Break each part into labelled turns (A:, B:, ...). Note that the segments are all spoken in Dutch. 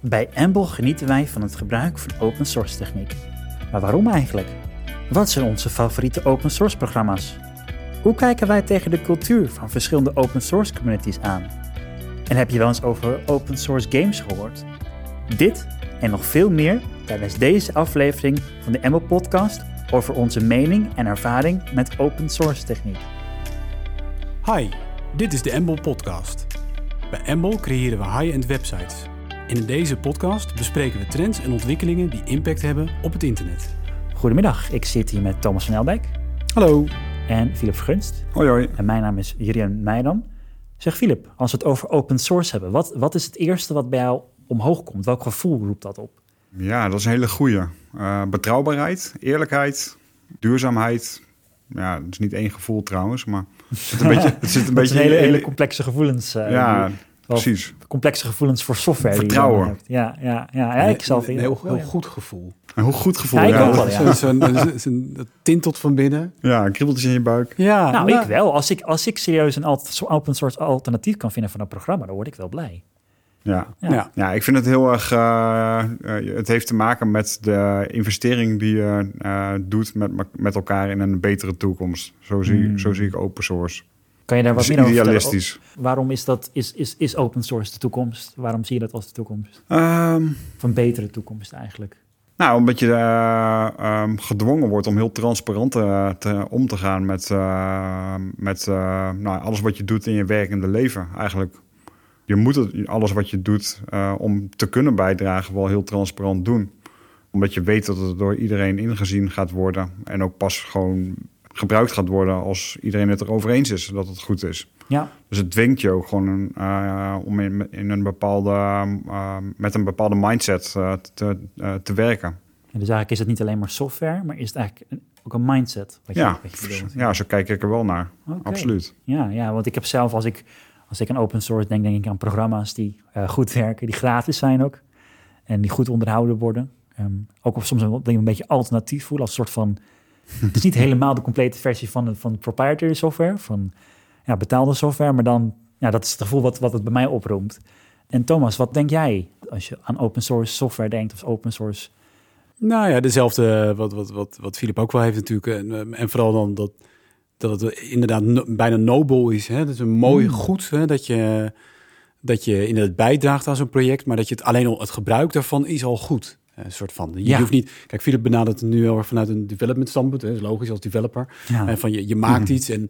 A: Bij Amble genieten wij van het gebruik van open source techniek. Maar waarom eigenlijk? Wat zijn onze favoriete open source programma's? Hoe kijken wij tegen de cultuur van verschillende open source communities aan? En heb je wel eens over open source games gehoord? Dit en nog veel meer tijdens deze aflevering van de Amble Podcast over onze mening en ervaring met open source techniek.
B: Hi, dit is de Embol Podcast. Bij Embol creëren we high-end websites. En in deze podcast bespreken we trends en ontwikkelingen die impact hebben op het internet.
A: Goedemiddag, ik zit hier met Thomas van Elbeek
B: Hallo.
A: en Philip Gunst.
B: Hoi hoi.
A: En mijn naam is Jurien Meijdan. Zeg Philip, als we het over open source hebben, wat, wat is het eerste wat bij jou omhoog komt? Welk gevoel roept dat op?
C: Ja, dat is een hele goeie. Eh, betrouwbaarheid, eerlijkheid, duurzaamheid. Ja, dat is niet één gevoel trouwens, maar het zit een beetje... Het zit een
A: Dat
C: beetje
A: zijn hele,
C: in-
A: hele complexe gevoelens. eh,
C: Ja,
A: die- wel
C: precies.
A: Complexe gevoelens voor software. die je
C: Vertrouwen.
A: dan hebt. Ja, ja, ja. ja ik zal Nou,
B: een, een heel, heel goed gevoel.
C: Een heel goed gevoel.
A: Ja, ik ook
C: ja,
A: wel,
B: Dat
A: ja.
B: is Zo'n, zo'n- zo'n- dat tintelt van binnen.
C: Ja, kriebeltjes in je buik.
B: Ja.
A: Nou, ik wel. Als ik, als ik serieus een alt- zo'n open source alternatief kan vinden van een programma, dan word ik wel blij.
C: Ja.
B: Ja.
A: Ja.
C: Ja, ik vind het heel erg. eh, eh, het heeft te maken met de investering die je eh, doet met, me- met elkaar in een betere toekomst. Zo zie,
A: Hmm.
C: zo zie ik open source.
A: Kan je daar wat
C: Dus
A: meer over vertellen?
C: idealistisch.
A: O- Waarom is, dat, is, is, is open source de toekomst? Waarom zie je dat als de toekomst?
C: Ehm,
A: Of een betere toekomst eigenlijk?
C: nou, omdat je eh, ehm, gedwongen wordt om heel transparant eh, te, om te gaan met, eh, met eh, nou, alles wat je doet in je werkende leven. Eigenlijk, je moet het, alles wat je doet eh, om te kunnen bijdragen wel heel transparant doen. Omdat je weet dat het door iedereen ingezien gaat worden. En ook pas gewoon gebruikt gaat worden als iedereen het erover eens is dat het goed is.
A: Ja,
C: Dus het dwingt je ook gewoon eh, om in, in een bepaalde, eh, met een bepaalde mindset eh, te, eh, te werken.
A: en dus eigenlijk is het niet alleen maar software, maar is het eigenlijk een- ook een mindset? Wat je,
C: Ja,
A: wat je bedoelt.
C: ja, zo kijk ik er wel naar.
A: Oké.
C: Absoluut.
A: Ja, ja, want ik heb zelf, als ik, als ik aan open source denk, denk ik aan programma's die eh, goed werken, die gratis zijn ook. En die goed onderhouden worden. Ehm, ook of soms een, een beetje alternatief voelen, als een soort van... Het is niet helemaal de complete versie van, de- van de proprietary software, van ja, betaalde software. Maar dan, ja, dat is het gevoel wat, wat het bij mij oproemt. En Thomas, wat denk jij als je aan open source software denkt of open source...
B: Nou ja, dezelfde wat, wat, wat, wat Philip ook wel heeft natuurlijk. En, ehm, en vooral dan dat, dat het inderdaad no- bijna nobel is. Hè? Dat is een mooi goed hè? Dat, je, dat je inderdaad bijdraagt aan zo'n project. Maar dat je het alleen al, het gebruik daarvan is al goed. Een soort van. Je
A: Ja.
B: hoeft niet. Kijk, Philip benadert het nu heel erg vanuit een development standpunt. Hè? Dat is logisch als developer.
A: Ja.
B: En van je, je maakt iets en,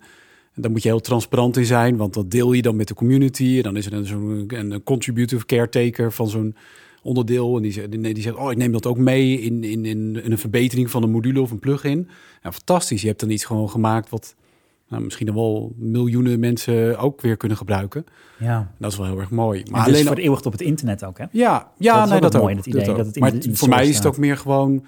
B: en daar moet je heel transparant in zijn, want dat deel je dan met de community. En dan is er een, zo'n een, een contributive caretaker van zo'n onderdeel. En die zegt, die, die zegt, oh, ik neem dat ook mee in, in, in, in een verbetering van een module of een plugin. Ja, fantastisch. Je hebt dan iets gewoon gemaakt wat nou, misschien dan wel miljoenen mensen ook weer kunnen gebruiken.
A: Ja,
B: En dat is wel heel erg mooi. Maar
A: maar alleen
B: alleen
A: dus voor eeuwig op het internet ook, hè?
B: ja, ja,
A: Dat is
B: nee,
A: wel
B: dat
A: mooi,
B: ook,
A: dat idee, dat
B: ook.
A: het in
B: maar
A: de- in de
B: voor
A: source
B: mij is het
A: staat.
B: ook meer gewoon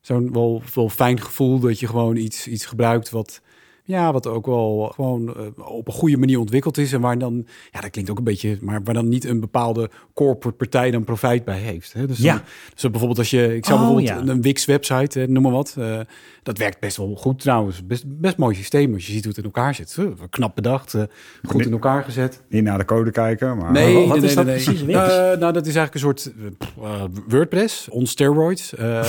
B: zo'n wel, wel fijn gevoel dat je gewoon iets, iets gebruikt wat, ja, wat ook wel gewoon eh, op een goede manier ontwikkeld is. En waar dan, ja, dat klinkt ook een beetje, maar waar dan niet een bepaalde corporate partij dan profijt bij heeft. Hè? Dus, dan-
A: Ja.
B: dus bijvoorbeeld als je, ik zou
A: Oh,
B: bijvoorbeeld
A: ja.
B: een, een Wix-website, eh, noem maar wat, eh, dat werkt best wel goed trouwens. Best, best mooi systeem als je ziet hoe het in elkaar zit. Eh, knap bedacht, eh, goed in elkaar gezet.
C: Niet naar de code kijken, maar
B: Nee,
A: wat
B: nee,
A: is
B: nee,
A: dat
B: nee.
A: precies, Wix?
B: Eh, nou, dat is eigenlijk een soort eh, pff, eh, WordPress on steroids. Eh,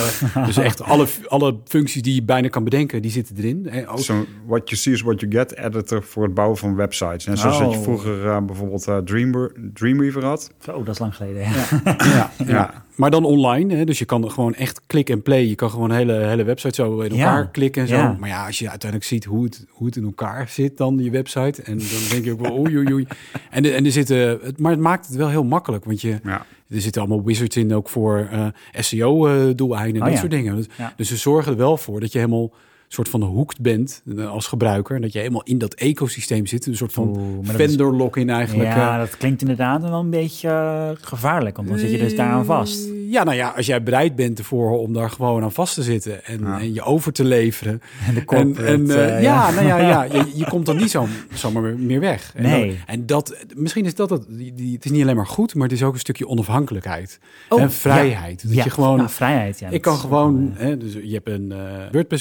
B: dus echt alle, alle functies die je bijna kan bedenken, die zitten erin. Eh, oh, En ook,
C: zo'n what you see is what you get editor voor het bouwen van websites. En zoals
A: Oh.
C: dat je vroeger eh, bijvoorbeeld eh, Dreamweaver, Dreamweaver had.
A: Oh, dat is lang geleden, ja.
B: ja, ja.
C: Ja.
B: Maar dan online, hè, dus je kan er gewoon echt klik en play. Je kan gewoon een hele, hele website zo in
A: Ja.
B: elkaar klikken en zo.
A: Ja.
B: Maar ja, als je uiteindelijk ziet hoe het, hoe het in elkaar zit dan, je website. En dan denk je ook wel oei oei oei. En, er- en er zitten, het, maar het maakt het wel heel makkelijk, want je...
C: Ja.
B: Er zitten allemaal wizards in ook voor eh, E SEO-doeleinden en
A: Oh,
B: dat
A: ja.
B: soort dingen. Dus,
A: Ja.
B: dus ze zorgen er wel voor dat je helemaal soort van hoekt bent eh, als gebruiker. En dat je helemaal in dat ecosysteem zit. Een soort van
A: Oeh, maar dat is-
B: vendor lock-in eigenlijk.
A: Ja,
B: eh.
A: dat klinkt inderdaad wel een beetje eh, gevaarlijk, want dan zit je dus daaraan vast.
B: Ja, nou ja, als jij bereid bent ervoor om daar gewoon aan vast te zitten en, en je over te leveren.
A: En de corporate,
B: eh,
A: eh,
B: ja,
A: ja.
B: nou ja, ja je, je komt dan niet zo, zomaar meer- meer weg. En,
A: Nee.
B: dan- en dat, misschien is dat, het, die, die- het is niet alleen maar goed, maar het is ook een stukje onafhankelijkheid
A: Oh,
B: en vrijheid.
A: ja.
B: Dat
A: Ja,
B: je gewoon
A: nou, vrijheid, ja.
B: Ik
A: dat
B: kan
A: is ook
B: gewoon,
A: wel,
B: hè, dus je hebt een eh,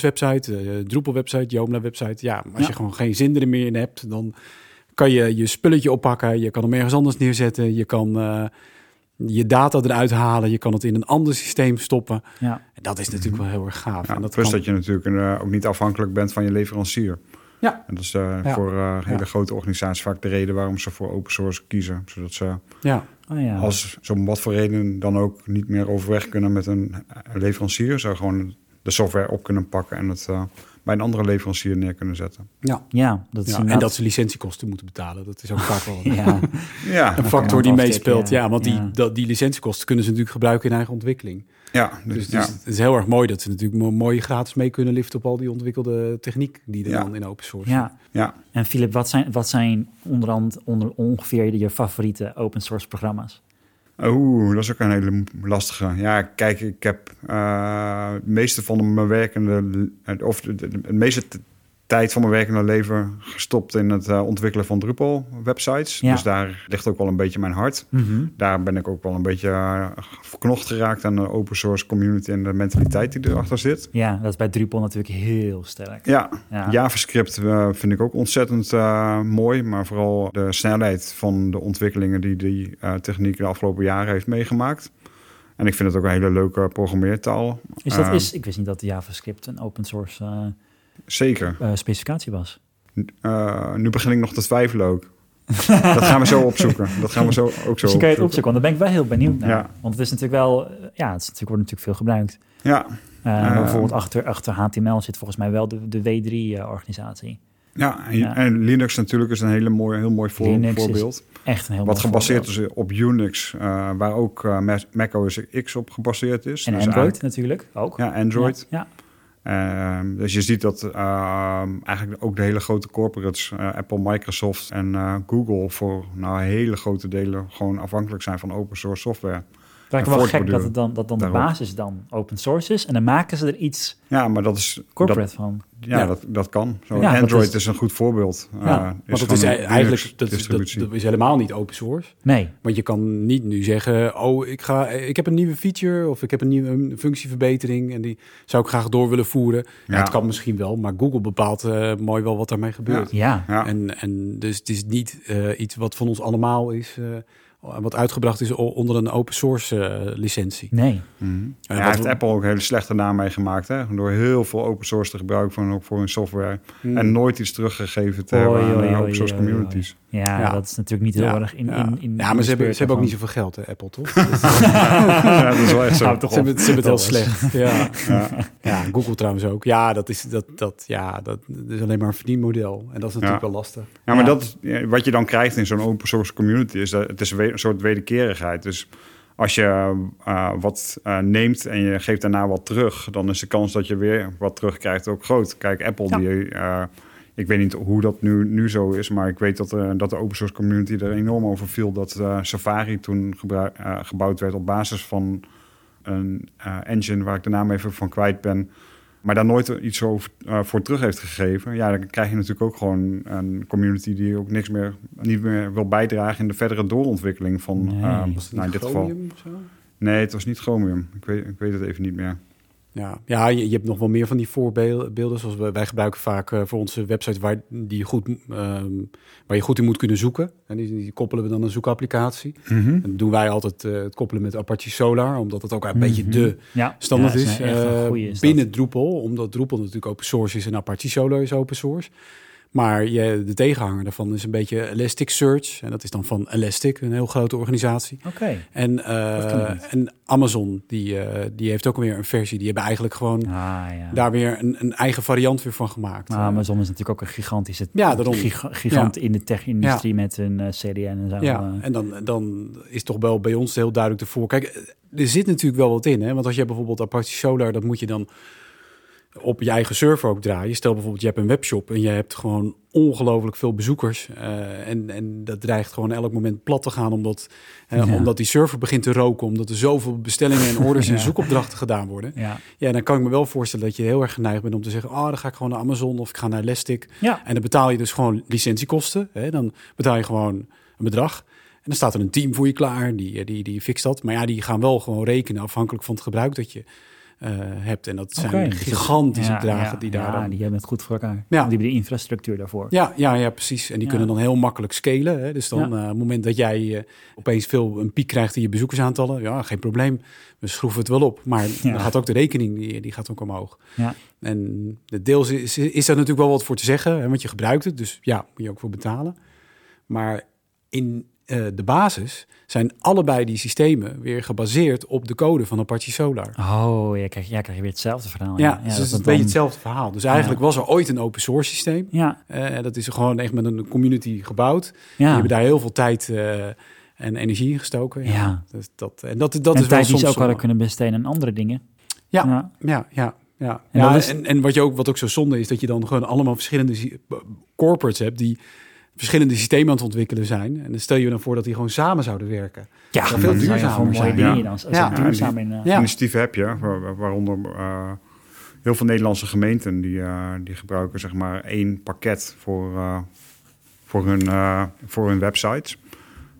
B: WordPress-website, eh Drupal-website, Joomla-website. Ja, maar als
A: Ja.
B: je gewoon geen zin er meer in hebt, dan kan je je spulletje oppakken. Je kan hem ergens anders neerzetten. Je kan, eh, je data eruit halen. Je kan het in een ander systeem stoppen.
A: Ja.
B: En dat is natuurlijk
A: Mhm.
B: wel heel erg gaaf.
C: Ja,
B: en dat
C: plus
B: kan-
C: dat je natuurlijk eh, ook niet afhankelijk bent van je leverancier.
B: Ja.
C: En dat is eh,
B: Ja.
C: voor eh, hele
B: Ja.
C: grote organisaties vaak de reden waarom ze voor open source kiezen. Zodat ze
B: ja.
A: Oh ja.
C: als ze om wat voor reden dan ook niet meer overweg kunnen met een eh, leverancier. Ze gewoon de software op kunnen pakken en het eh, bij een andere leverancier neer kunnen zetten.
B: Ja.
A: ja, dat is
B: Ja, en
A: inderdaad-
B: dat ze licentiekosten moeten betalen. Dat is ook vaak wel een,
A: Ja,
C: Ja,
B: een factor die
A: aftikken,
B: meespeelt. Ja,
A: ja.
B: want
A: Ja.
B: Die, dat, die licentiekosten kunnen ze natuurlijk gebruiken in eigen ontwikkeling.
C: ja, dus,
B: Dus, het
C: ja.
B: is- het is heel erg mooi dat ze natuurlijk mo- mooi gratis mee kunnen liften op al die ontwikkelde techniek die er
C: Ja.
B: dan in open source zit.
A: ja.
C: ja.
A: En Philip, wat zijn, wat zijn onder andere onder ongeveer je favoriete open source programma's?
C: Oeh, dat is ook een hele m- lastige. Ja, kijk, ik heb eh het meeste van mijn werkende... of de, de- de meeste t- tijd van mijn werkende leven gestopt in het eh, ontwikkelen van Drupal-websites.
A: Ja.
C: Dus daar ligt ook wel een beetje mijn hart.
B: Mhm.
C: Daar ben ik ook wel een beetje eh, verknocht geraakt aan de open source community... en de mentaliteit die erachter zit.
A: Ja, dat is bij Drupal natuurlijk heel sterk.
C: Ja,
A: Ja.
C: JavaScript eh, vind ik ook ontzettend eh, mooi. Maar vooral de snelheid van de ontwikkelingen die die eh, techniek de afgelopen jaren heeft meegemaakt. En ik vind het ook een hele leuke programmeertaal.
A: Is dat,
B: ehm.
C: Eh,
A: is, ik wist niet dat JavaScript een open source eh,
C: Zeker.
A: eh, specificatie was.
C: Eh, nu begin ik nog te twijfelen ook. dat gaan we zo opzoeken. Dat gaan we zo ook zo
A: Misschien Dus kan je het opzoeken, want daar ben ik wel heel benieuwd naar.
C: Ja.
A: Want het is natuurlijk wel, eh, ja, het is natuurlijk, wordt natuurlijk veel gebruikt.
C: Ja,
A: Eh,
C: Eh,
A: bijvoorbeeld achter, achter HTML zit volgens mij wel de, eh, de W3-organisatie.
C: ja, en,
A: Ja.
C: en Linux natuurlijk is een hele mooi, heel mooi voor-
A: Linux is-
C: voorbeeld.
A: Echt een heel
C: Wat
A: mooi
C: gebaseerd
A: voorbeeld.
C: is op Unix, eh, waar ook eh, Mac- Mac OS X op gebaseerd is.
A: En
C: Dus
A: Android natuurlijk ook.
C: eigenlijk- Ja, Android.
A: Ja,
C: Ehm, dus je ziet dat ehm, eigenlijk ook de hele grote corporates, eh, Apple, Microsoft en eh, Google, voor nou, hele grote delen gewoon afhankelijk zijn van open source software.
A: Het lijkt me wel gek dat,
C: voortborduren
A: het dan, dat dan de
C: daarop.
A: basis dan open source is. En dan maken ze er iets
C: Ja, maar dat is.
A: corporate van.
C: Dat, ja,
B: Ja.
C: Dat, dat kan. Zo,
A: Ja, dat
C: Android
A: is-
C: is... een goed voorbeeld. Eh,
A: Ja,
B: Want dat
C: gewoon
B: is
C: een
B: ei- eigenlijk dat is, dat,
C: Linux-distributie.
B: dat is helemaal niet open source.
A: Nee,
B: Want je kan niet nu zeggen, oh, ik, ga, ik heb een nieuwe feature of ik heb een nieuwe een functieverbetering en die zou ik graag door willen voeren. Ja.
C: Ja.
B: het kan misschien wel, maar Google bepaalt eh, mooi wel wat daarmee gebeurt.
A: ja.
C: Ja.
B: En, en dus het is niet eh, iets wat van ons allemaal is, eh, wat uitgebracht is o- onder een open source eh, licentie.
A: Nee,
C: Mhm.
B: Ja,
C: Ja,
B: wat-
C: heeft Apple ook een hele slechte naam mee gemaakt. Hè? Door heel veel open source te gebruiken van, ook voor hun software.
B: Hmm.
C: En nooit iets teruggegeven te
A: Oei,
C: hebben aan
A: oei,
C: eh,
A: oei,
C: open source
A: oei, oei.
C: communities.
A: ja,
B: Ja.
A: dat is natuurlijk niet heel
B: Ja,
A: erg in,
B: ja.
A: in, in...
B: ja, maar ze hebben, ze hebben ook niet zoveel geld, hè, Apple, toch? Dus ze
C: Ja, dat is wel echt zo.
A: Nou, toch
B: hebben, het- ze hebben het heel slecht. Ja.
C: Ja.
B: ja, Google trouwens ook. Ja, dat is, dat, dat, ja, dat is alleen maar een verdienmodel. En dat is natuurlijk
C: Ja.
B: wel lastig.
C: Ja, maar
A: Ja.
C: Dat, is- ja, wat je dan krijgt in zo'n open source community is dat het is we- een soort wederkerigheid. Dus als je eh, wat eh, neemt en je geeft daarna wat terug, dan is de kans dat je weer wat terugkrijgt ook groot. Kijk, Apple,
A: Ja.
C: die, eh, ik weet niet hoe dat nu, nu zo is, maar ik weet dat, eh, dat de open source community er enorm over viel dat eh, Safari toen gebruik- eh, gebouwd werd op basis van een eh, engine waar ik de naam even van kwijt ben. Maar daar nooit iets over, eh, voor terug heeft gegeven. Ja, dan krijg je natuurlijk ook gewoon een community die ook niks meer, niet meer wil bijdragen in de verdere doorontwikkeling van.
A: Nee.
C: eh,
A: Was
C: nou, in dit geval.
B: Chromium of zo?
C: Nee, het was niet Chromium. Ik weet, ik weet het even niet meer.
B: Ja, ja je, je hebt nog wel meer van die voorbeelden. Zoals wij, wij gebruiken vaak eh, voor onze website waar, die je goed, ehm, waar je goed in moet kunnen zoeken. En die, die koppelen we dan een zoekapplicatie.
C: Mhm.
B: En dat doen wij altijd eh, het koppelen met Apache Solar, omdat dat ook een
C: Mhm.
B: beetje de
A: Ja,
B: standaard
A: Ja,
B: is,
A: dat een- echt een
B: eh,
A: goeie is dat.
B: binnen Drupal. Omdat Drupal natuurlijk open source is en Apache Solar is open source. Maar je, de tegenhanger daarvan is een beetje Elasticsearch. En dat is dan van Elastic, een heel grote organisatie.
A: Oké,
B: En, eh,
A: Dat ken ik niet.
B: en Amazon, die, eh, die heeft ook weer een versie. Die hebben eigenlijk gewoon
A: ah ja.
B: daar weer een, een eigen variant weer van gemaakt.
A: Maar Nou, Amazon is natuurlijk ook een gigantische
B: eh, Ja, daarom.
A: giga- gigant in de tech-industrie met een eh, CDN en zo.
B: Ja,
A: eh.
B: en dan, dan is toch wel bij ons heel duidelijk de voor. Kijk, er zit natuurlijk wel wat in. Hè? Want als je bijvoorbeeld Apache Solar, dat moet je dan op je eigen server ook draaien. Stel bijvoorbeeld, je hebt een webshop en je hebt gewoon ongelooflijk veel bezoekers. eh, en, en dat dreigt gewoon elk moment plat te gaan, omdat, eh,
A: Ja.
B: omdat die server begint te roken. Omdat er zoveel bestellingen en orders en
A: Ja.
B: zoekopdrachten gedaan worden.
A: ja.
B: Ja, dan kan ik me wel voorstellen dat je heel erg geneigd bent om te zeggen... oh, dan ga ik gewoon naar Amazon of ik ga naar Elastic.
A: Ja.
B: En dan betaal je dus gewoon licentiekosten. Hè? Dan betaal je gewoon een bedrag. En dan staat er een team voor je klaar, die, die, die fixt dat. Maar ja, die gaan wel gewoon rekenen afhankelijk van het gebruik dat je eh, eh, hebt. En dat
A: Oké,
B: zijn
A: dus het-
B: gigantische
A: ja,
B: bedragen
A: ja,
B: die daar
A: Ja,
B: dan-
A: die hebben het goed voor elkaar. Die
B: Ja.
A: hebben de infrastructuur daarvoor.
B: Ja, ja, ja, precies. En die
A: Ja.
B: kunnen dan heel makkelijk scalen. Hè? Dus dan
A: Ja.
B: eh, op het moment dat jij eh, opeens veel een piek krijgt in je bezoekersaantallen, ja, geen probleem. We schroeven het wel op. Maar dan gaat ook de rekening, die, die gaat ook omhoog.
A: Ja.
B: En de deels is, is daar natuurlijk wel wat voor te zeggen, hè? want je gebruikt het. Dus ja, moet je ook voor betalen. Maar in eh, de basis zijn allebei die systemen weer gebaseerd op de code van Apache Solar.
A: Oh, ja, krijg, ja, krijg je weer hetzelfde verhaal.
B: Ja, dus
A: dat
B: het is een
A: dan-
B: beetje hetzelfde verhaal. Dus eigenlijk was er ooit een open source systeem.
A: Ja,
B: Eh, dat is gewoon echt met een community gebouwd. Die
A: ja.
B: hebben daar heel veel tijd eh, en energie in gestoken.
A: Ja.
B: Dus dat, en dat, dat
A: en
B: is wel
A: tijd die
B: soms...
A: ze ook hadden
B: zonde.
A: kunnen besteden aan andere dingen.
B: Ja.
A: ja.
B: Ja, ja, ja.
A: En
B: En, ja
A: dat is-
B: en, en wat, je ook, wat ook zo zonde is, dat je dan gewoon allemaal verschillende sy- corporates hebt... die verschillende systemen aan het ontwikkelen zijn. En dan stel je je dan voor dat die gewoon samen zouden werken.
A: Ja,
B: veel
A: maar dan zou je
B: duurzamer
A: voor mooie
B: zijn.
A: dingen
C: Ja.
A: dan. Als
B: Ja.
A: het duurzaam in... eh,
B: Ja.
C: Initiatieven heb je, waar- waar- waaronder eh, heel veel Nederlandse gemeenten die, eh, die gebruiken zeg maar één pakket voor, eh, voor, hun, eh, voor hun websites.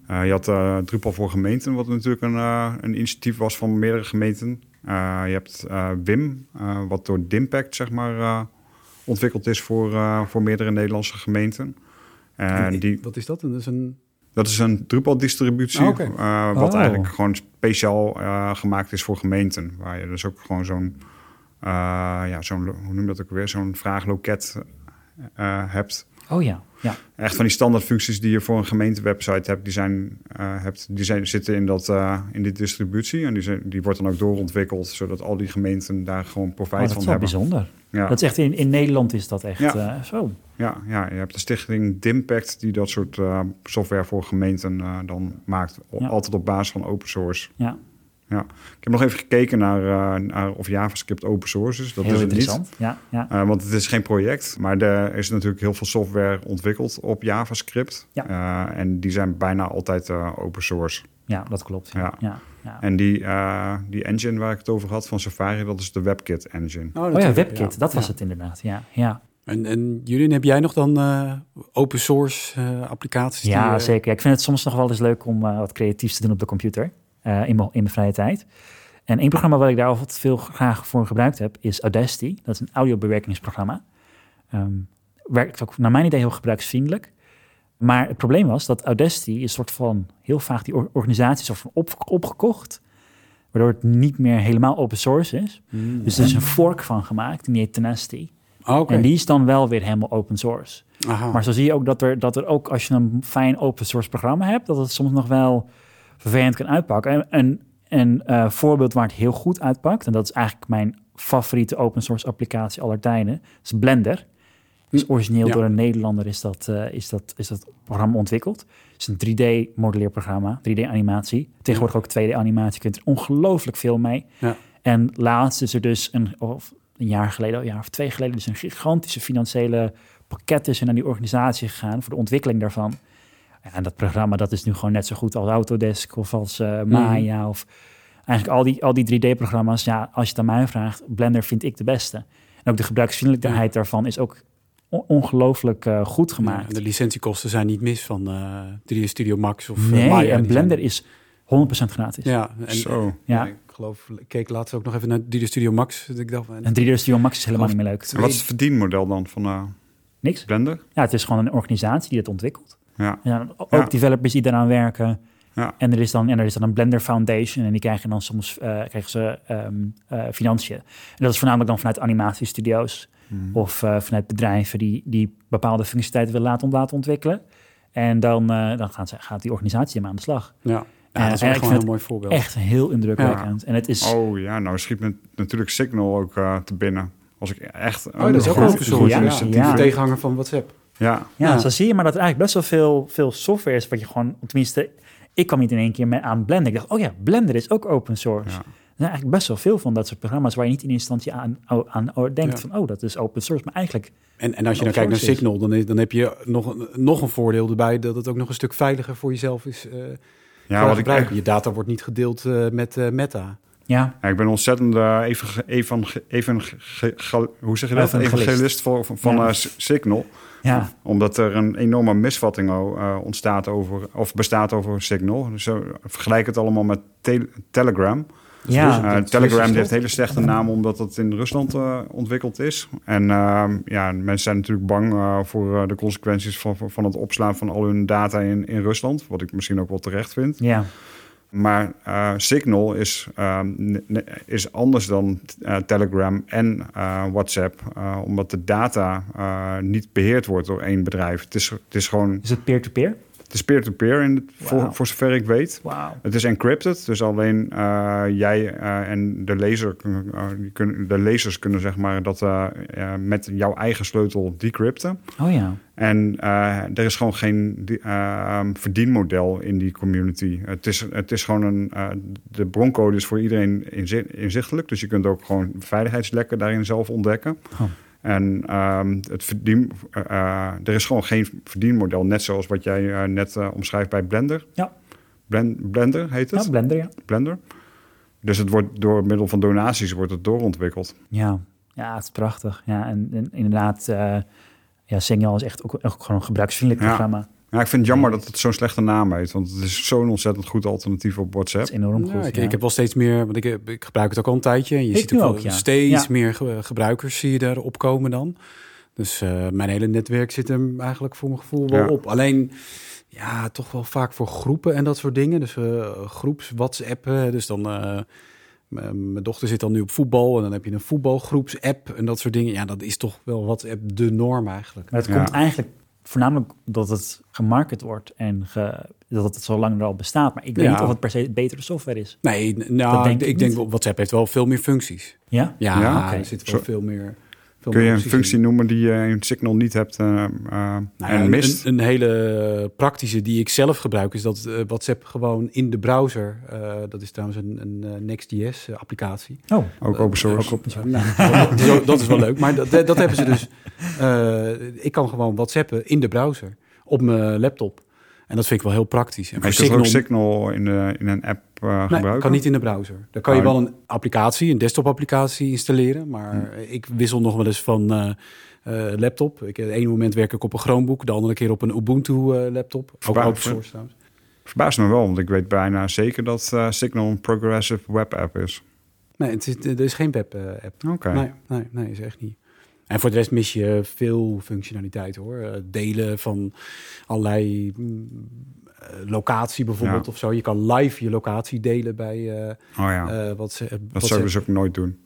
C: Eh, je had eh Drupal voor gemeenten, wat natuurlijk een, eh, een initiatief was van meerdere gemeenten. Eh, je hebt eh, WIM, eh, wat door Dimpact zeg maar, eh, ontwikkeld is voor, eh, voor meerdere Nederlandse gemeenten. En
B: En-
C: die,
B: Wat is dat? Dat is een...
C: dat is een Drupal-distributie,
B: Ah, oké.
C: eh, wat
A: Oh.
C: eigenlijk gewoon speciaal eh, gemaakt is voor gemeenten. Waar je dus ook gewoon zo'n, eh, ja, zo'n lo- hoe noem je dat ook weer, zo'n vraagloket eh, hebt.
A: Oh ja, ja.
C: Echt van die standaardfuncties die je voor een gemeentewebsite hebt, die, zijn, eh, hebt, die zijn, zitten in, dat, eh, in die distributie. En die, zijn, die wordt dan ook doorontwikkeld, zodat al die gemeenten daar gewoon
A: Oh,
C: profijt
A: dat is
C: van
A: wel
C: hebben.
A: bijzonder.
C: Ja.
A: Dat is echt in, in Nederland is dat echt
C: Ja.
A: eh, zo.
C: Ja, ja, je hebt de stichting Dimpact die dat soort eh, software voor gemeenten eh, dan maakt. O-
A: Ja.
C: Altijd op basis van open source.
A: Ja,
C: Ja. Ik heb nog even gekeken naar, eh, naar of JavaScript open source is. Dat
A: heel
C: is het niet.
A: interessant. Ja, ja.
C: Eh, want het is geen project, maar er is natuurlijk heel veel software ontwikkeld op JavaScript.
A: Ja.
C: Eh, en die zijn bijna altijd eh, open source.
A: ja, dat klopt. Ja.
C: Ja.
A: Ja. Ja.
C: En die, eh, die engine waar ik het over had van Safari, dat is de WebKit engine.
A: Oh ja,
B: natuurlijk,
A: WebKit,
B: ja.
A: dat was
B: Ja.
A: het inderdaad. Ja, ja.
B: En, en Julien, heb jij nog dan eh, open source eh, applicaties? die,
A: ja
B: eh,
A: zeker. Ja, ik vind het soms nog wel eens leuk om eh, wat creatiefs te doen op de computer eh, in, mijn, in mijn vrije tijd. En één programma waar ik daar altijd veel graag voor gebruikt heb is Audacity. Dat is een audiobewerkingsprogramma. Ehm werkt ook naar mijn idee heel gebruiksvriendelijk. Maar het probleem was dat Audacity is een soort van heel vaag die or- organisatie soort van op- opgekocht. Waardoor het niet meer helemaal open source is.
B: hmm.
A: Dus er is een fork van gemaakt, die heet Tenacity.
B: Ah, oké. Ah.
A: En die is dan wel weer helemaal open source.
B: Aha.
A: Maar zo zie je ook dat er, dat er ook als je een fijn open source programma hebt, dat het soms nog wel vervelend kan uitpakken. En een, een eh, voorbeeld waar het heel goed uitpakt, en dat is eigenlijk mijn favoriete open source applicatie aller tijden, is Blender. Dus origineel
B: Hm. Ja.
A: door een Nederlander is dat, eh, is, dat, is dat programma ontwikkeld. Het is een 3D-modelleerprogramma, 3D-animatie. Tegenwoordig ook 2D-animatie, je kunt er ongelooflijk veel mee.
B: Ja.
A: En laatst is er dus een, of een jaar geleden, een jaar of twee geleden, dus een gigantische financiële pakket is er naar die organisatie gegaan voor de ontwikkeling daarvan. En dat programma dat is nu gewoon net zo goed als Autodesk of als eh, Maya of eigenlijk al die, al die 3D-programma's. Ja, als je het aan mij vraagt, Blender vind ik de beste. En ook de gebruiksvriendelijkheid daarvan is ook on- ongelooflijk eh, goed
B: Ja,
A: gemaakt.
B: en de licentiekosten zijn niet mis van eh 3D Studio Max of eh,
A: nee,
B: Maya.
A: en
B: Die
A: Blender is 100% gratis.
B: zijn- Ja, en,
C: Zo.
A: Ja.
B: Ik geloof, ik keek laatst ook nog even naar 3D Studio Max. Dat Ik dacht, van,
A: En 3D Studio Max is helemaal niet meer leuk.
C: En wat is het verdienmodel dan van eh,
A: Niks.
C: Blender?
A: Ja, het is gewoon een organisatie die dat ontwikkelt.
C: Ja.
A: En dan ook
C: Ja.
A: developers die daaraan werken.
C: Ja.
A: En, er is dan, en er is dan een Blender Foundation en die krijgen dan soms eh, krijgen ze ehm, eh, financiën. En dat is voornamelijk dan vanuit animatiestudio's
C: Mhm.
A: of eh, vanuit bedrijven die, die bepaalde functionaliteiten willen laten, laten ontwikkelen. En dan, eh, dan gaan ze, gaat die organisatie ermee aan de slag.
B: ja.
A: Ja,
B: ja, dat is
A: en ik
B: echt
A: vind
B: gewoon
A: het
B: een mooi voorbeeld.
A: Echt heel indrukwekkend. En het is...
C: Oh ja, nou schiet me natuurlijk Signal ook eh, te binnen. Als ik echt.
B: Oh, dat is ook
A: Goed-
B: open source.
A: ja,
B: Ja,
A: initiatief, ja.
B: De tegenhanger van WhatsApp.
C: Ja,
A: Ja,
B: Ja.
A: Nou, zo zie je maar dat er eigenlijk best wel veel, veel software is wat je gewoon, tenminste, ik kwam niet in één keer met aan Blender. Ik dacht, oh ja, Blender is ook open source.
C: Ja.
A: Er zijn eigenlijk best wel veel van dat soort programma's waar je niet in eerste instantie aan, o- aan o- denkt
B: Ja.
A: van, oh, dat is open source. Maar eigenlijk,
B: En, en als je
A: Open
B: dan kijkt naar
A: source is.
B: Signal, dan, is- dan heb je nog, een- nog een voordeel erbij... dat het ook nog een stuk veiliger voor jezelf is. eh
C: ja wat ik,
B: gebruik. Je data wordt niet gedeeld eh, met eh, Meta.
A: ja,
C: ja, ik ben ontzettend eh, evang- evang- evangel- hoe zeg je dat?
A: Evangelist.
C: evangelist van, van
A: Ja.
C: eh, S- Signal.
A: ja,
C: Omdat er een enorme misvatting o- eh, ontstaat over, of bestaat over Signal. Dus, eh, vergelijk het allemaal met Tele- Telegram.
A: ja,
C: Eh, Telegram die heeft een hele slechte naam omdat dat in Rusland eh, ontwikkeld is. En eh, ja, mensen zijn natuurlijk bang eh, voor eh, de consequenties van, van- van het opslaan van al hun data in, in Rusland. Wat ik misschien ook wel terecht vind.
A: ja.
C: Maar eh, Signal is, ehm, ne- ne- is anders dan eh, Telegram en eh, WhatsApp. eh, omdat de data eh, niet beheerd wordt door één bedrijf. Het is, het is gewoon
A: Is het peer-to-peer?
C: het is peer-to-peer in het-
A: Wauw.
C: voor, voor zover ik weet.
A: Wauw.
C: Het is encrypted, dus alleen eh, jij eh, en de, lezer, kun- eh, die kunnen- de lezers kunnen zeg maar, dat eh, eh, met jouw eigen sleutel decrypten.
A: Oh ja.
C: En eh, er is gewoon geen di- eh, verdienmodel in die community. Het is, het is gewoon een. eh, de broncode is voor iedereen inzi- inzichtelijk. Dus je kunt ook gewoon veiligheidslekken daarin zelf ontdekken.
A: Oh.
C: En ehm, het verdien, eh, eh, er is gewoon geen verdienmodel. Net zoals wat jij eh, net eh, omschrijft bij Blender.
A: Ja.
C: Blen- Blender heet het.
A: Ja, Blender, ja.
C: Blender. Dus het wordt door middel van donaties wordt het doorontwikkeld.
A: Ja, ja het is prachtig. Ja, en, en inderdaad, eh, ja, Signal is echt ook, ook gewoon een gebruiksvriendelijk
C: Ja.
A: programma.
C: Ja, ik vind het jammer dat het zo'n slechte naam heeft. Want het is zo'n ontzettend goed alternatief op WhatsApp.
A: Dat is enorm
B: Ja,
A: goed.
B: ik,
A: ja.
B: ik heb wel steeds meer, want ik, heb- ik gebruik het ook al een tijdje. En je
A: Ik
B: ziet ook,
A: nu
B: wel
A: ook, ja.
B: steeds
A: Ja.
B: meer ge- gebruikers zie je daar opkomen dan. Dus eh, mijn hele netwerk zit hem eigenlijk voor mijn gevoel wel
C: Ja.
B: op. Alleen, ja, toch wel vaak voor groepen en dat soort dingen. Dus eh, groeps, WhatsApp. eh, Dus dan, eh, m- mijn dochter zit dan nu op voetbal. En dan heb je een voetbalgroeps-app en dat soort dingen. Ja, dat is toch wel WhatsApp de norm eigenlijk.
A: Maar het
C: Ja.
A: komt eigenlijk voornamelijk dat het gemarket wordt en ge- dat het zo lang er al bestaat. Maar ik weet
B: Ja.
A: niet of het per se betere software is.
B: Nee, n- nou,
A: denk
B: ik,
A: ik
B: ik denk
A: niet.
B: wel, WhatsApp heeft wel veel meer functies.
A: Ja?
B: Ja,
C: Ja?
A: Oké.
B: er zit wel
C: Zo-
B: veel meer... veel
C: Kun
B: meer
C: je een
B: opties in.
C: functie noemen die je in Signal niet hebt eh, eh,
B: Nou ja,
C: en
B: een-
C: mist?
B: Een, een hele praktische die ik zelf gebruik is dat eh, WhatsApp gewoon in de browser. eh, dat is trouwens een, een eh, Next.js eh, applicatie.
A: Oh,
C: ook open source.
B: Ook op- nou, dat, is ook- dat is wel leuk, maar dat, dat hebben ze dus. eh, ik kan gewoon WhatsAppen in de browser op mijn laptop. En dat vind ik wel heel praktisch. En
C: maar je
B: voor
C: kunt ook
B: Signal-
C: Signal in, eh, in een app eh,
B: Nee,
C: gebruiken.
B: kan niet in de browser. Dan kan je wel een applicatie, een desktop-applicatie installeren. Maar
C: Hm.
B: ik wissel nog wel eens van eh, eh, laptop. Ik, het ene moment werk ik op een Chromebook, de andere keer op een Ubuntu-laptop. ook
C: Waar-
B: open source trouwens.
C: Verbaast me wel, want ik weet bijna zeker dat eh, Signal een progressive web app is.
B: Nee, het is, er is geen web-app.
C: Oké.
B: Nee, nee, nee, is echt niet. En voor de rest mis je veel functionaliteit hoor. Eh, Delen van allerlei mm, eh, locatie bijvoorbeeld
C: Ja.
B: of zo. Je kan live je locatie delen bij eh
C: Oh ja,
B: eh, WhatsApp.
C: dat zou
B: WhatsApp.
C: ik dus ook nooit doen.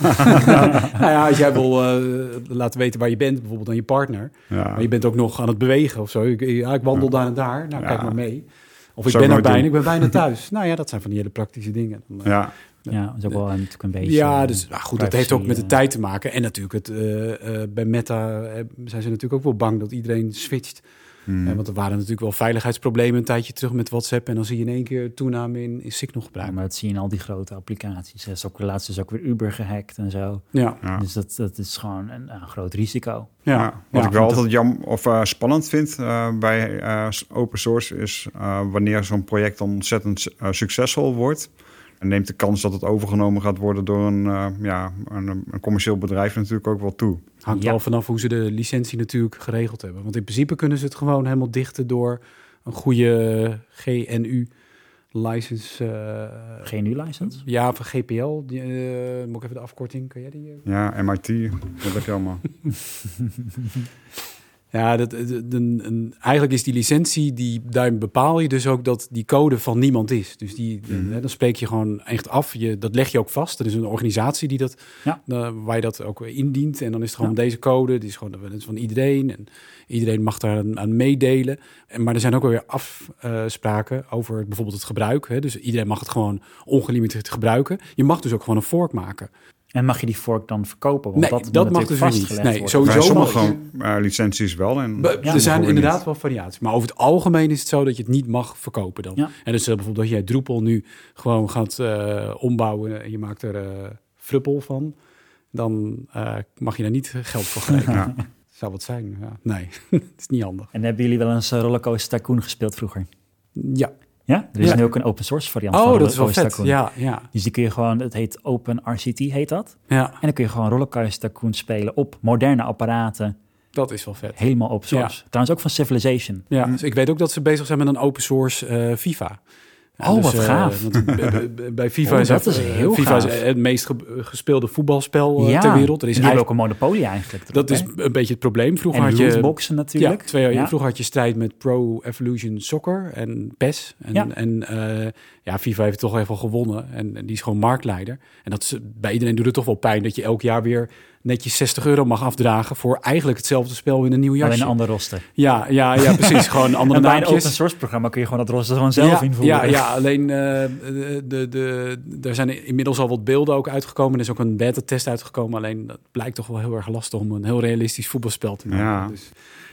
B: Nou ja, als jij wil eh, laten weten waar je bent, bijvoorbeeld aan je partner.
C: Ja.
B: Maar je bent ook nog aan het bewegen of zo. Ik, ja, ik wandel daar en daar. Nou,
C: Ja.
B: kijk maar mee. Of ik
C: Zou ik
B: ben er
C: nooit
B: bijna,
C: doen.
B: ik ben bijna thuis. nou ja, dat zijn van die hele praktische dingen. Dan, eh,
C: Ja,
A: ja, dat is ook wel een- natuurlijk een beetje...
B: ja,
A: eh,
B: dus nou goed, dat
A: privacy,
B: heeft ook met de
A: eh,
B: tijd te maken. En natuurlijk, het, eh, eh, bij Meta eh, zijn ze natuurlijk ook wel bang dat iedereen switcht.
C: Hmm.
B: Eh, want er waren natuurlijk wel veiligheidsproblemen een tijdje terug met WhatsApp. En dan zie je in één keer toename in, in Signal
A: Ja,
B: gebruik.
A: maar dat zie je in al die grote applicaties. Er is ook laatst is ook weer Uber gehackt en zo.
B: Ja,
C: Ja.
A: Dus dat, dat is gewoon een, een groot risico.
B: ja.
C: Ja, wat
B: Ja,
C: ik wel
B: want dat-
C: altijd jam of eh, spannend vind eh, bij eh, open source is eh, wanneer zo'n project dan ontzettend eh, succesvol wordt. En neemt de kans dat het overgenomen gaat worden door een, eh, ja, een, een commercieel bedrijf natuurlijk ook wel toe.
B: Hangt
A: Ja.
B: wel vanaf hoe ze de licentie natuurlijk geregeld hebben. Want in principe kunnen ze het gewoon helemaal dichten door een goede eh, GNU-license. eh,
A: Geen nu-license?
B: ja, van GPL. Die, eh, moet ik even de afkorting? Kan jij die? eh?
C: Ja, MIT, dat heb je allemaal.
B: Ja, dat, dat- dat- een- een- eigenlijk is die licentie, die, daarin bepaal je dus ook dat die code van niemand is. Dus die, hè, dan spreek je gewoon echt af. Je, dat leg je ook vast. Er is een organisatie die dat,
A: Ja.
B: eh, waar je dat ook indient. En dan is het gewoon deze code, die is gewoon dat is van iedereen. En iedereen mag daar aan, aan meedelen. En, maar er zijn ook alweer afspraken over bijvoorbeeld het gebruik. Hè. Dus iedereen mag het gewoon ongelimiteerd gebruiken. Je mag dus ook gewoon een fork maken.
A: En mag je die fork dan verkopen? Want
B: Nee,
A: dat, moet
B: dat mag
A: natuurlijk
B: dus weer niet.
A: vastgelegd
B: Nee,
A: worden.
B: sowieso
C: Bij sommige
B: wel.
C: eh, licenties wel. En
B: Be-
A: Ja,
B: er
A: dat
B: zijn
C: hoor je
B: inderdaad
C: niet.
B: wel variaties. Maar over het algemeen is het zo dat je het niet mag verkopen dan.
A: Ja.
B: En dus eh, bijvoorbeeld dat jij Drupal nu gewoon gaat eh, ombouwen en je maakt er eh fruppel van. Dan eh, mag je daar niet geld voor geven.
C: Ja.
B: Zou wat zijn. Ja. Nee, het is niet handig.
A: En hebben jullie wel eens eh, Rollercoaster Tycoon gespeeld vroeger?
B: Ja.
A: Ja? Er is
B: Ja.
A: nu ook een open source variant van
B: Oh, dat is wel
A: Rollercoaster
B: vet.
A: Tycoon.
B: Ja, ja,
A: Dus die kun je gewoon, het heet Open RCT heet dat.
B: ja,
A: En dan kun je gewoon Rollercoaster Tycoon spelen op moderne apparaten,
B: dat is wel vet.
A: helemaal open source. Trouwens ook van Civilization.
B: Ja, dus ik weet ook dat ze bezig zijn met een open source eh FIFA. En
A: Oh, wat gaaf.
B: want bij- bij- bij FIFA
A: Oh,
B: is,
A: dat
B: het,
A: is
B: eh,
A: heel
B: FIFA is
A: gaaf.
B: het meest ge- gespeelde voetbalspel eh, ter wereld. Er is
A: die hebben ook
B: eigenlijk,
A: een monopolie eigenlijk.
B: dat is
A: erop, hè?
B: een beetje het probleem. Vroeger
A: en
B: had je
A: lootboxen natuurlijk.
B: Ja, twee jaar Vroeger had je strijd met Pro Evolution Soccer en PES. En,
A: Ja.
B: en eh, ja, FIFA heeft toch even gewonnen. En, en die is gewoon marktleider. En dat is, bij iedereen doet het toch wel pijn dat je elk jaar weer netjes 60 euro mag afdragen voor eigenlijk hetzelfde spel in een nieuw
A: Alleen
B: jasje.
A: een ander roster.
B: ja, ja, ja, precies. gewoon andere
A: En bij een
B: naampjes.
A: open source programma kun je gewoon dat roster gewoon zelf
B: ja,
A: invoeren.
B: Ja, ja alleen eh, de, de, daar zijn inmiddels al wat beelden ook uitgekomen. Er is ook een beta-test uitgekomen. Alleen dat blijkt toch wel heel erg lastig om een heel realistisch voetbalspel te maken.
C: Ja.
B: Dus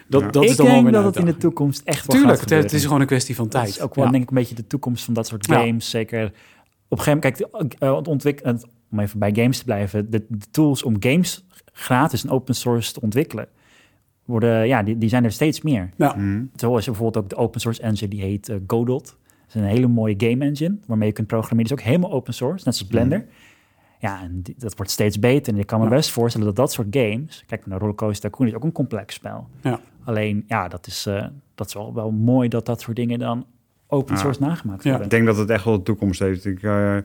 B: dat,
C: Ja.
B: dat
A: ik
B: is dan wel
A: denk
B: weer een
A: dat het in de
B: uitdaging.
A: toekomst echt wel
B: Tuurlijk,
A: gaat
B: het, het is
A: gebeuren.
B: gewoon een kwestie van tijd.
A: Dat is ook wel
B: Ja.
A: denk ik een beetje de toekomst van dat soort
B: Ja.
A: games. Zeker op een gegeven moment, kijk, eh, het ontwikkelen, om even bij games te blijven, de, de tools om games gratis en open source te ontwikkelen, worden, ja, die, die zijn er steeds meer.
B: Mm.
C: Hm.
A: Zo is er bijvoorbeeld ook de open source engine die heet eh, Godot. Dat is een hele mooie game engine waarmee je kunt programmeren. Die is ook helemaal open source, net zoals Blender. Ja, en die- dat wordt steeds beter. En ik kan me
B: Mhm. Ja.
A: best voorstellen dat dat soort games... Kijk, naar Rollercoaster Tycoon is ook een complex spel.
B: Ja.
A: Alleen, ja, dat is, eh, dat is wel, wel mooi dat dat soort dingen dan open
C: Ja.
A: source nagemaakt
B: Ja.
A: worden.
C: Ik denk dat het echt wel de toekomst heeft. Ik eh,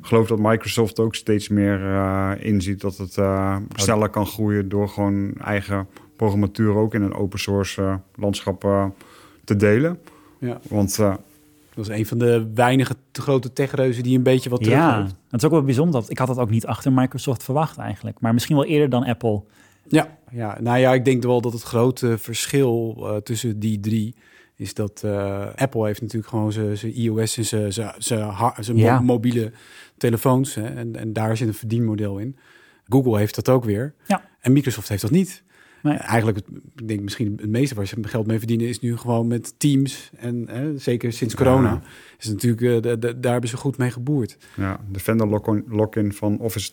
C: geloof dat Microsoft ook steeds meer eh, inziet dat het eh, sneller kan groeien door gewoon eigen programmatuur ook in een open source eh, landschap eh, te delen.
B: Ja.
C: Want eh,
B: Dat is een van de weinige t- grote techreuzen die een beetje wat terug
A: ja,
B: heeft.
A: het is ook wel bijzonder. Dat, ik had dat ook niet achter Microsoft verwacht eigenlijk. Maar misschien wel eerder dan Apple.
B: Ja, ja, nou ja, ik denk wel dat het grote verschil eh, tussen die drie is dat eh, Apple heeft natuurlijk gewoon zijn zijn iOS en zijn- zijn- zijn ha- zijn mo-
A: Ja.
B: mobiele telefoons. Hè, en, en daar zit een verdienmodel in. Google heeft dat ook weer.
A: Ja.
B: En Microsoft heeft dat niet.
A: Nee.
B: Eh, Eigenlijk, het- ik denk misschien het meeste waar ze geld mee verdienen... is nu gewoon met Teams. En eh, zeker sinds corona is natuurlijk, eh, de- de- daar hebben ze goed mee geboerd.
C: ja, de vendor lock-on- lock-in van Office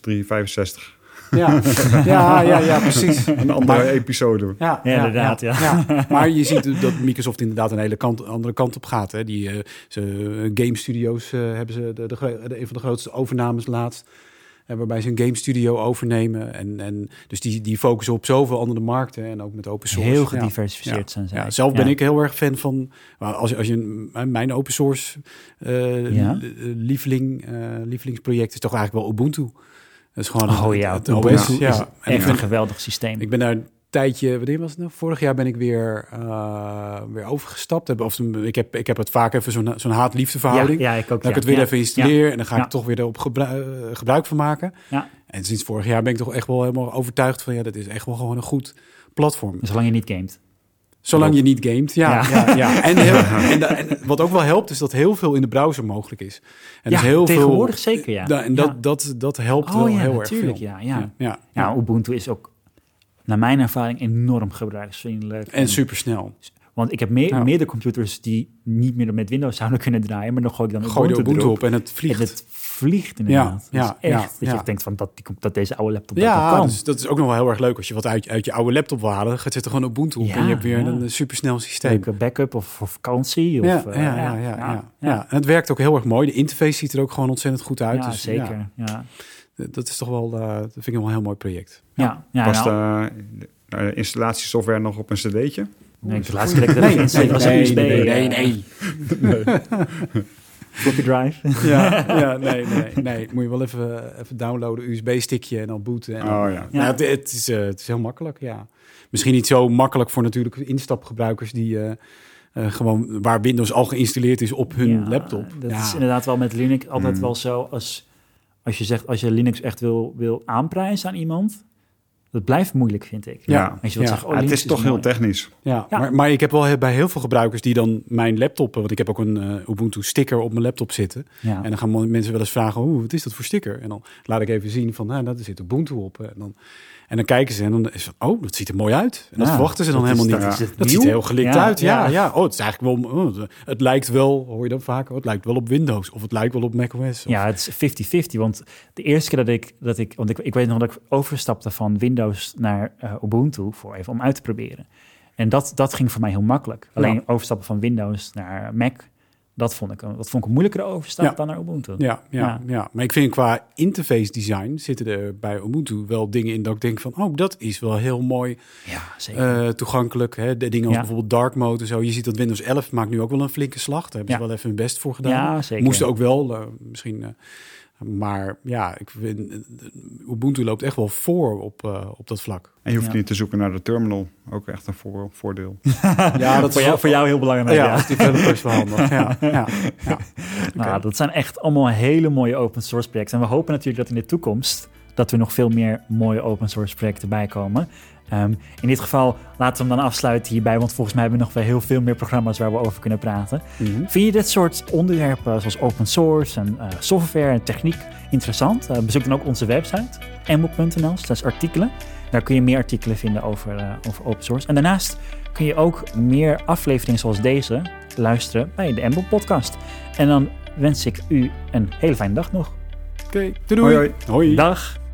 C: 365.
B: Ja, ja, ja, ja precies.
C: Een andere episode.
B: Ja,
A: Ja, inderdaad, ja.
B: ja. Maar je ziet dat Microsoft inderdaad een hele kant, andere kant op gaat. Hè. Die eh, ze, game studios eh, hebben ze de, de, gro- de- een van de grootste overnames laatst. eh, waarbij ze een game studio overnemen. En, en, dus die, die focussen op zoveel andere markten en ook met open source.
A: Heel
B: Ja.
A: gediversifieerd zijn zij.
B: Ja, zelf ben
A: Ja.
B: ik heel erg fan van. maar Als, je- als je een- mijn open source eh,
A: Ja.
B: li- eh, lieveling, eh, lievelingsproject is toch eigenlijk wel Ubuntu. Dat is gewoon
A: Oh
B: het-
A: ja,
B: het
A: Ubuntu
B: OS.
A: is
B: ja. En ik
A: Echt
B: ben-
A: een geweldig systeem.
B: ik ben daar een tijdje, wanneer was het nou? Vorig jaar ben ik weer, eh, weer overgestapt. Heb- Of, ik, heb, ik heb het vaak even zo'n, zo'n haat-liefde
A: ja,
B: verhouding.
A: ja, ik ook.
B: Dat ik
A: ja.
B: het weer
A: Ja.
B: even installeer en dan ga ik
A: Ja.
B: toch weer erop gebru- eh, gebruik van maken.
A: Ja.
B: En sinds vorig jaar ben ik toch echt wel helemaal overtuigd van ja, dat is echt wel gewoon een goed platform.
A: Dus Zolang je niet gamet.
B: Zolang je niet gamet, ja.
A: Ja.
B: ja. ja, En, heel- en, da- en wat ook wel helpt is dat heel veel in de browser mogelijk is. En
A: ja,
B: dus heel
A: tegenwoordig
B: veel,
A: zeker, ja.
B: Da- en dat,
A: ja.
B: dat, dat helpt
A: Oh
B: wel
A: ja,
B: heel
A: natuurlijk,
B: erg veel.
A: ja, ja. Nou,
B: ja, ja.
A: Ja, Ubuntu is ook, naar mijn ervaring, enorm gebruiksvriendelijk.
B: En supersnel.
A: Dus, Want ik heb meer,
B: Ja.
A: meerdere computers die niet meer met Windows zouden kunnen draaien, maar dan gooi ik dan
B: Gooi de
A: Ubuntu,
B: Ubuntu
A: erop.
B: op en het vliegt.
A: En het vliegt inderdaad.
B: Ja,
A: Dat is
B: ja,
A: echt
B: ja,
A: dat je
B: ja.
A: denkt van dat, die, com- dat deze oude laptop dat wel
B: Ja,
A: kan.
B: dus dat is ook nog wel heel erg leuk. Als je wat uit, uit je oude laptop wil halen, gaat zet er gewoon Ubuntu op.
A: Ja,
B: en je hebt weer
A: ja.
B: een eh, supersnel systeem.
A: Leuke backup of voor vakantie. Of,
B: Ja, ja,
A: eh,
B: ja, ja, ja, Ja, En het werkt ook heel erg mooi. De interface ziet er ook gewoon ontzettend goed uit.
A: Ja,
B: dus,
A: zeker.
B: ja,
A: Ja, ja.
B: d- dat is toch wel, eh, dat vind ik wel een heel mooi project.
A: ja. ja,
C: Past
A: nou,
C: eh, de installatiesoftware nog op een cd'tje?
A: nee, ik- de laatste keer dat ik dat erin zet, was een USB. eh, Floppy drive.
B: Ja, ja, nee, nee, nee. Moet je wel even, even downloaden, USB-stickje en dan booten. En dan-
C: Oh ja.
A: Ja.
B: Nou, het, het is, eh, het is heel makkelijk, ja. Misschien niet zo makkelijk voor natuurlijk instapgebruikers die eh, eh, gewoon waar Windows al geïnstalleerd is op hun
A: Ja,
B: laptop.
A: Dat
B: ja.
A: is inderdaad wel met Linux altijd
C: Mm.
A: wel zo. Als, als je zegt, als je Linux echt wil, wil aanprijzen aan iemand, dat blijft moeilijk, vind ik.
B: Ja.
A: Als je wilt
B: Ja.
A: zeggen, oh,
C: Ja, het
A: Linux
C: is toch heel
A: mooi.
C: technisch.
B: Ja,
A: Ja.
B: Maar, maar ik heb wel he- bij heel veel gebruikers die dan mijn laptop, eh, want ik heb ook een eh, Ubuntu sticker op mijn laptop zitten.
A: Ja.
B: En dan gaan mo- mensen wel eens vragen, hoe wat is dat voor sticker? En dan laat ik even zien van, nou, daar zit Ubuntu op. En dan, en dan kijken ze en dan is van, oh, dat ziet er mooi uit. En dat
A: Ja,
B: verwachten ze dan
A: dat is-
B: helemaal niet.
A: dat is het
B: Dat
A: nieuw.
B: ziet er heel gelikt
A: Ja,
B: uit, ja,
A: ja.
B: ja. Oh, het is eigenlijk wel, oh, het lijkt wel, hoor je dan vaak, oh, het lijkt wel op Windows of het lijkt wel op macOS. Of,
A: Ja, het is 50-50. Want de eerste keer dat ik, dat ik want ik, ik weet nog dat ik overstapte van Windows naar eh, Ubuntu voor even om uit te proberen. En dat, dat ging voor mij heel makkelijk. Alleen overstappen van Windows naar Mac, Dat vond ik een, dat vond ik een moeilijkere overstap
B: Ja.
A: dan naar Ubuntu.
B: Ja, ja,
A: Ja.
B: ja. maar ik vind qua interface design zitten er bij Ubuntu wel dingen in dat ik denk van, oh, dat is wel heel mooi
A: Ja, zeker.
B: eh, toegankelijk. Hè? De dingen als
A: Ja.
B: bijvoorbeeld dark mode en zo. Je ziet dat Windows 11 maakt nu ook wel een flinke slag. Daar hebben ze
A: Ja.
B: wel even hun best voor gedaan.
A: Ja, zeker.
B: Moesten ook wel, eh, misschien. eh, maar ja, ik vind, eh, Ubuntu loopt echt wel voor op, eh, op dat vlak.
C: En je hoeft
A: Ja.
C: niet te zoeken naar de terminal. Ook echt een voor- voordeel.
B: Ja,
A: voor, jou, voor jou heel belangrijk.
B: Ja,
A: ja.
B: dat is natuurlijk best wel handig. Ja, ja, ja.
A: Nou, dat zijn echt allemaal hele mooie open source projecten. En we hopen natuurlijk dat in de toekomst dat er nog veel meer mooie open source projecten bij komen. Ehm, in dit geval laten we hem dan afsluiten hierbij, want volgens mij hebben we nog wel heel veel meer programma's waar we over kunnen praten.
B: Mhm.
A: Vind je dit soort onderwerpen zoals open source en eh, software en techniek interessant? Eh, bezoek dan ook onze website, mboek.nl slash artikelen. Daar kun je meer artikelen vinden over, eh, over open source. En daarnaast kun je ook meer afleveringen zoals deze luisteren bij de mboek podcast. En dan wens ik u een hele fijne dag nog.
B: Oké, doei. doei.
C: Hoi,
B: Hoi.
A: Dag!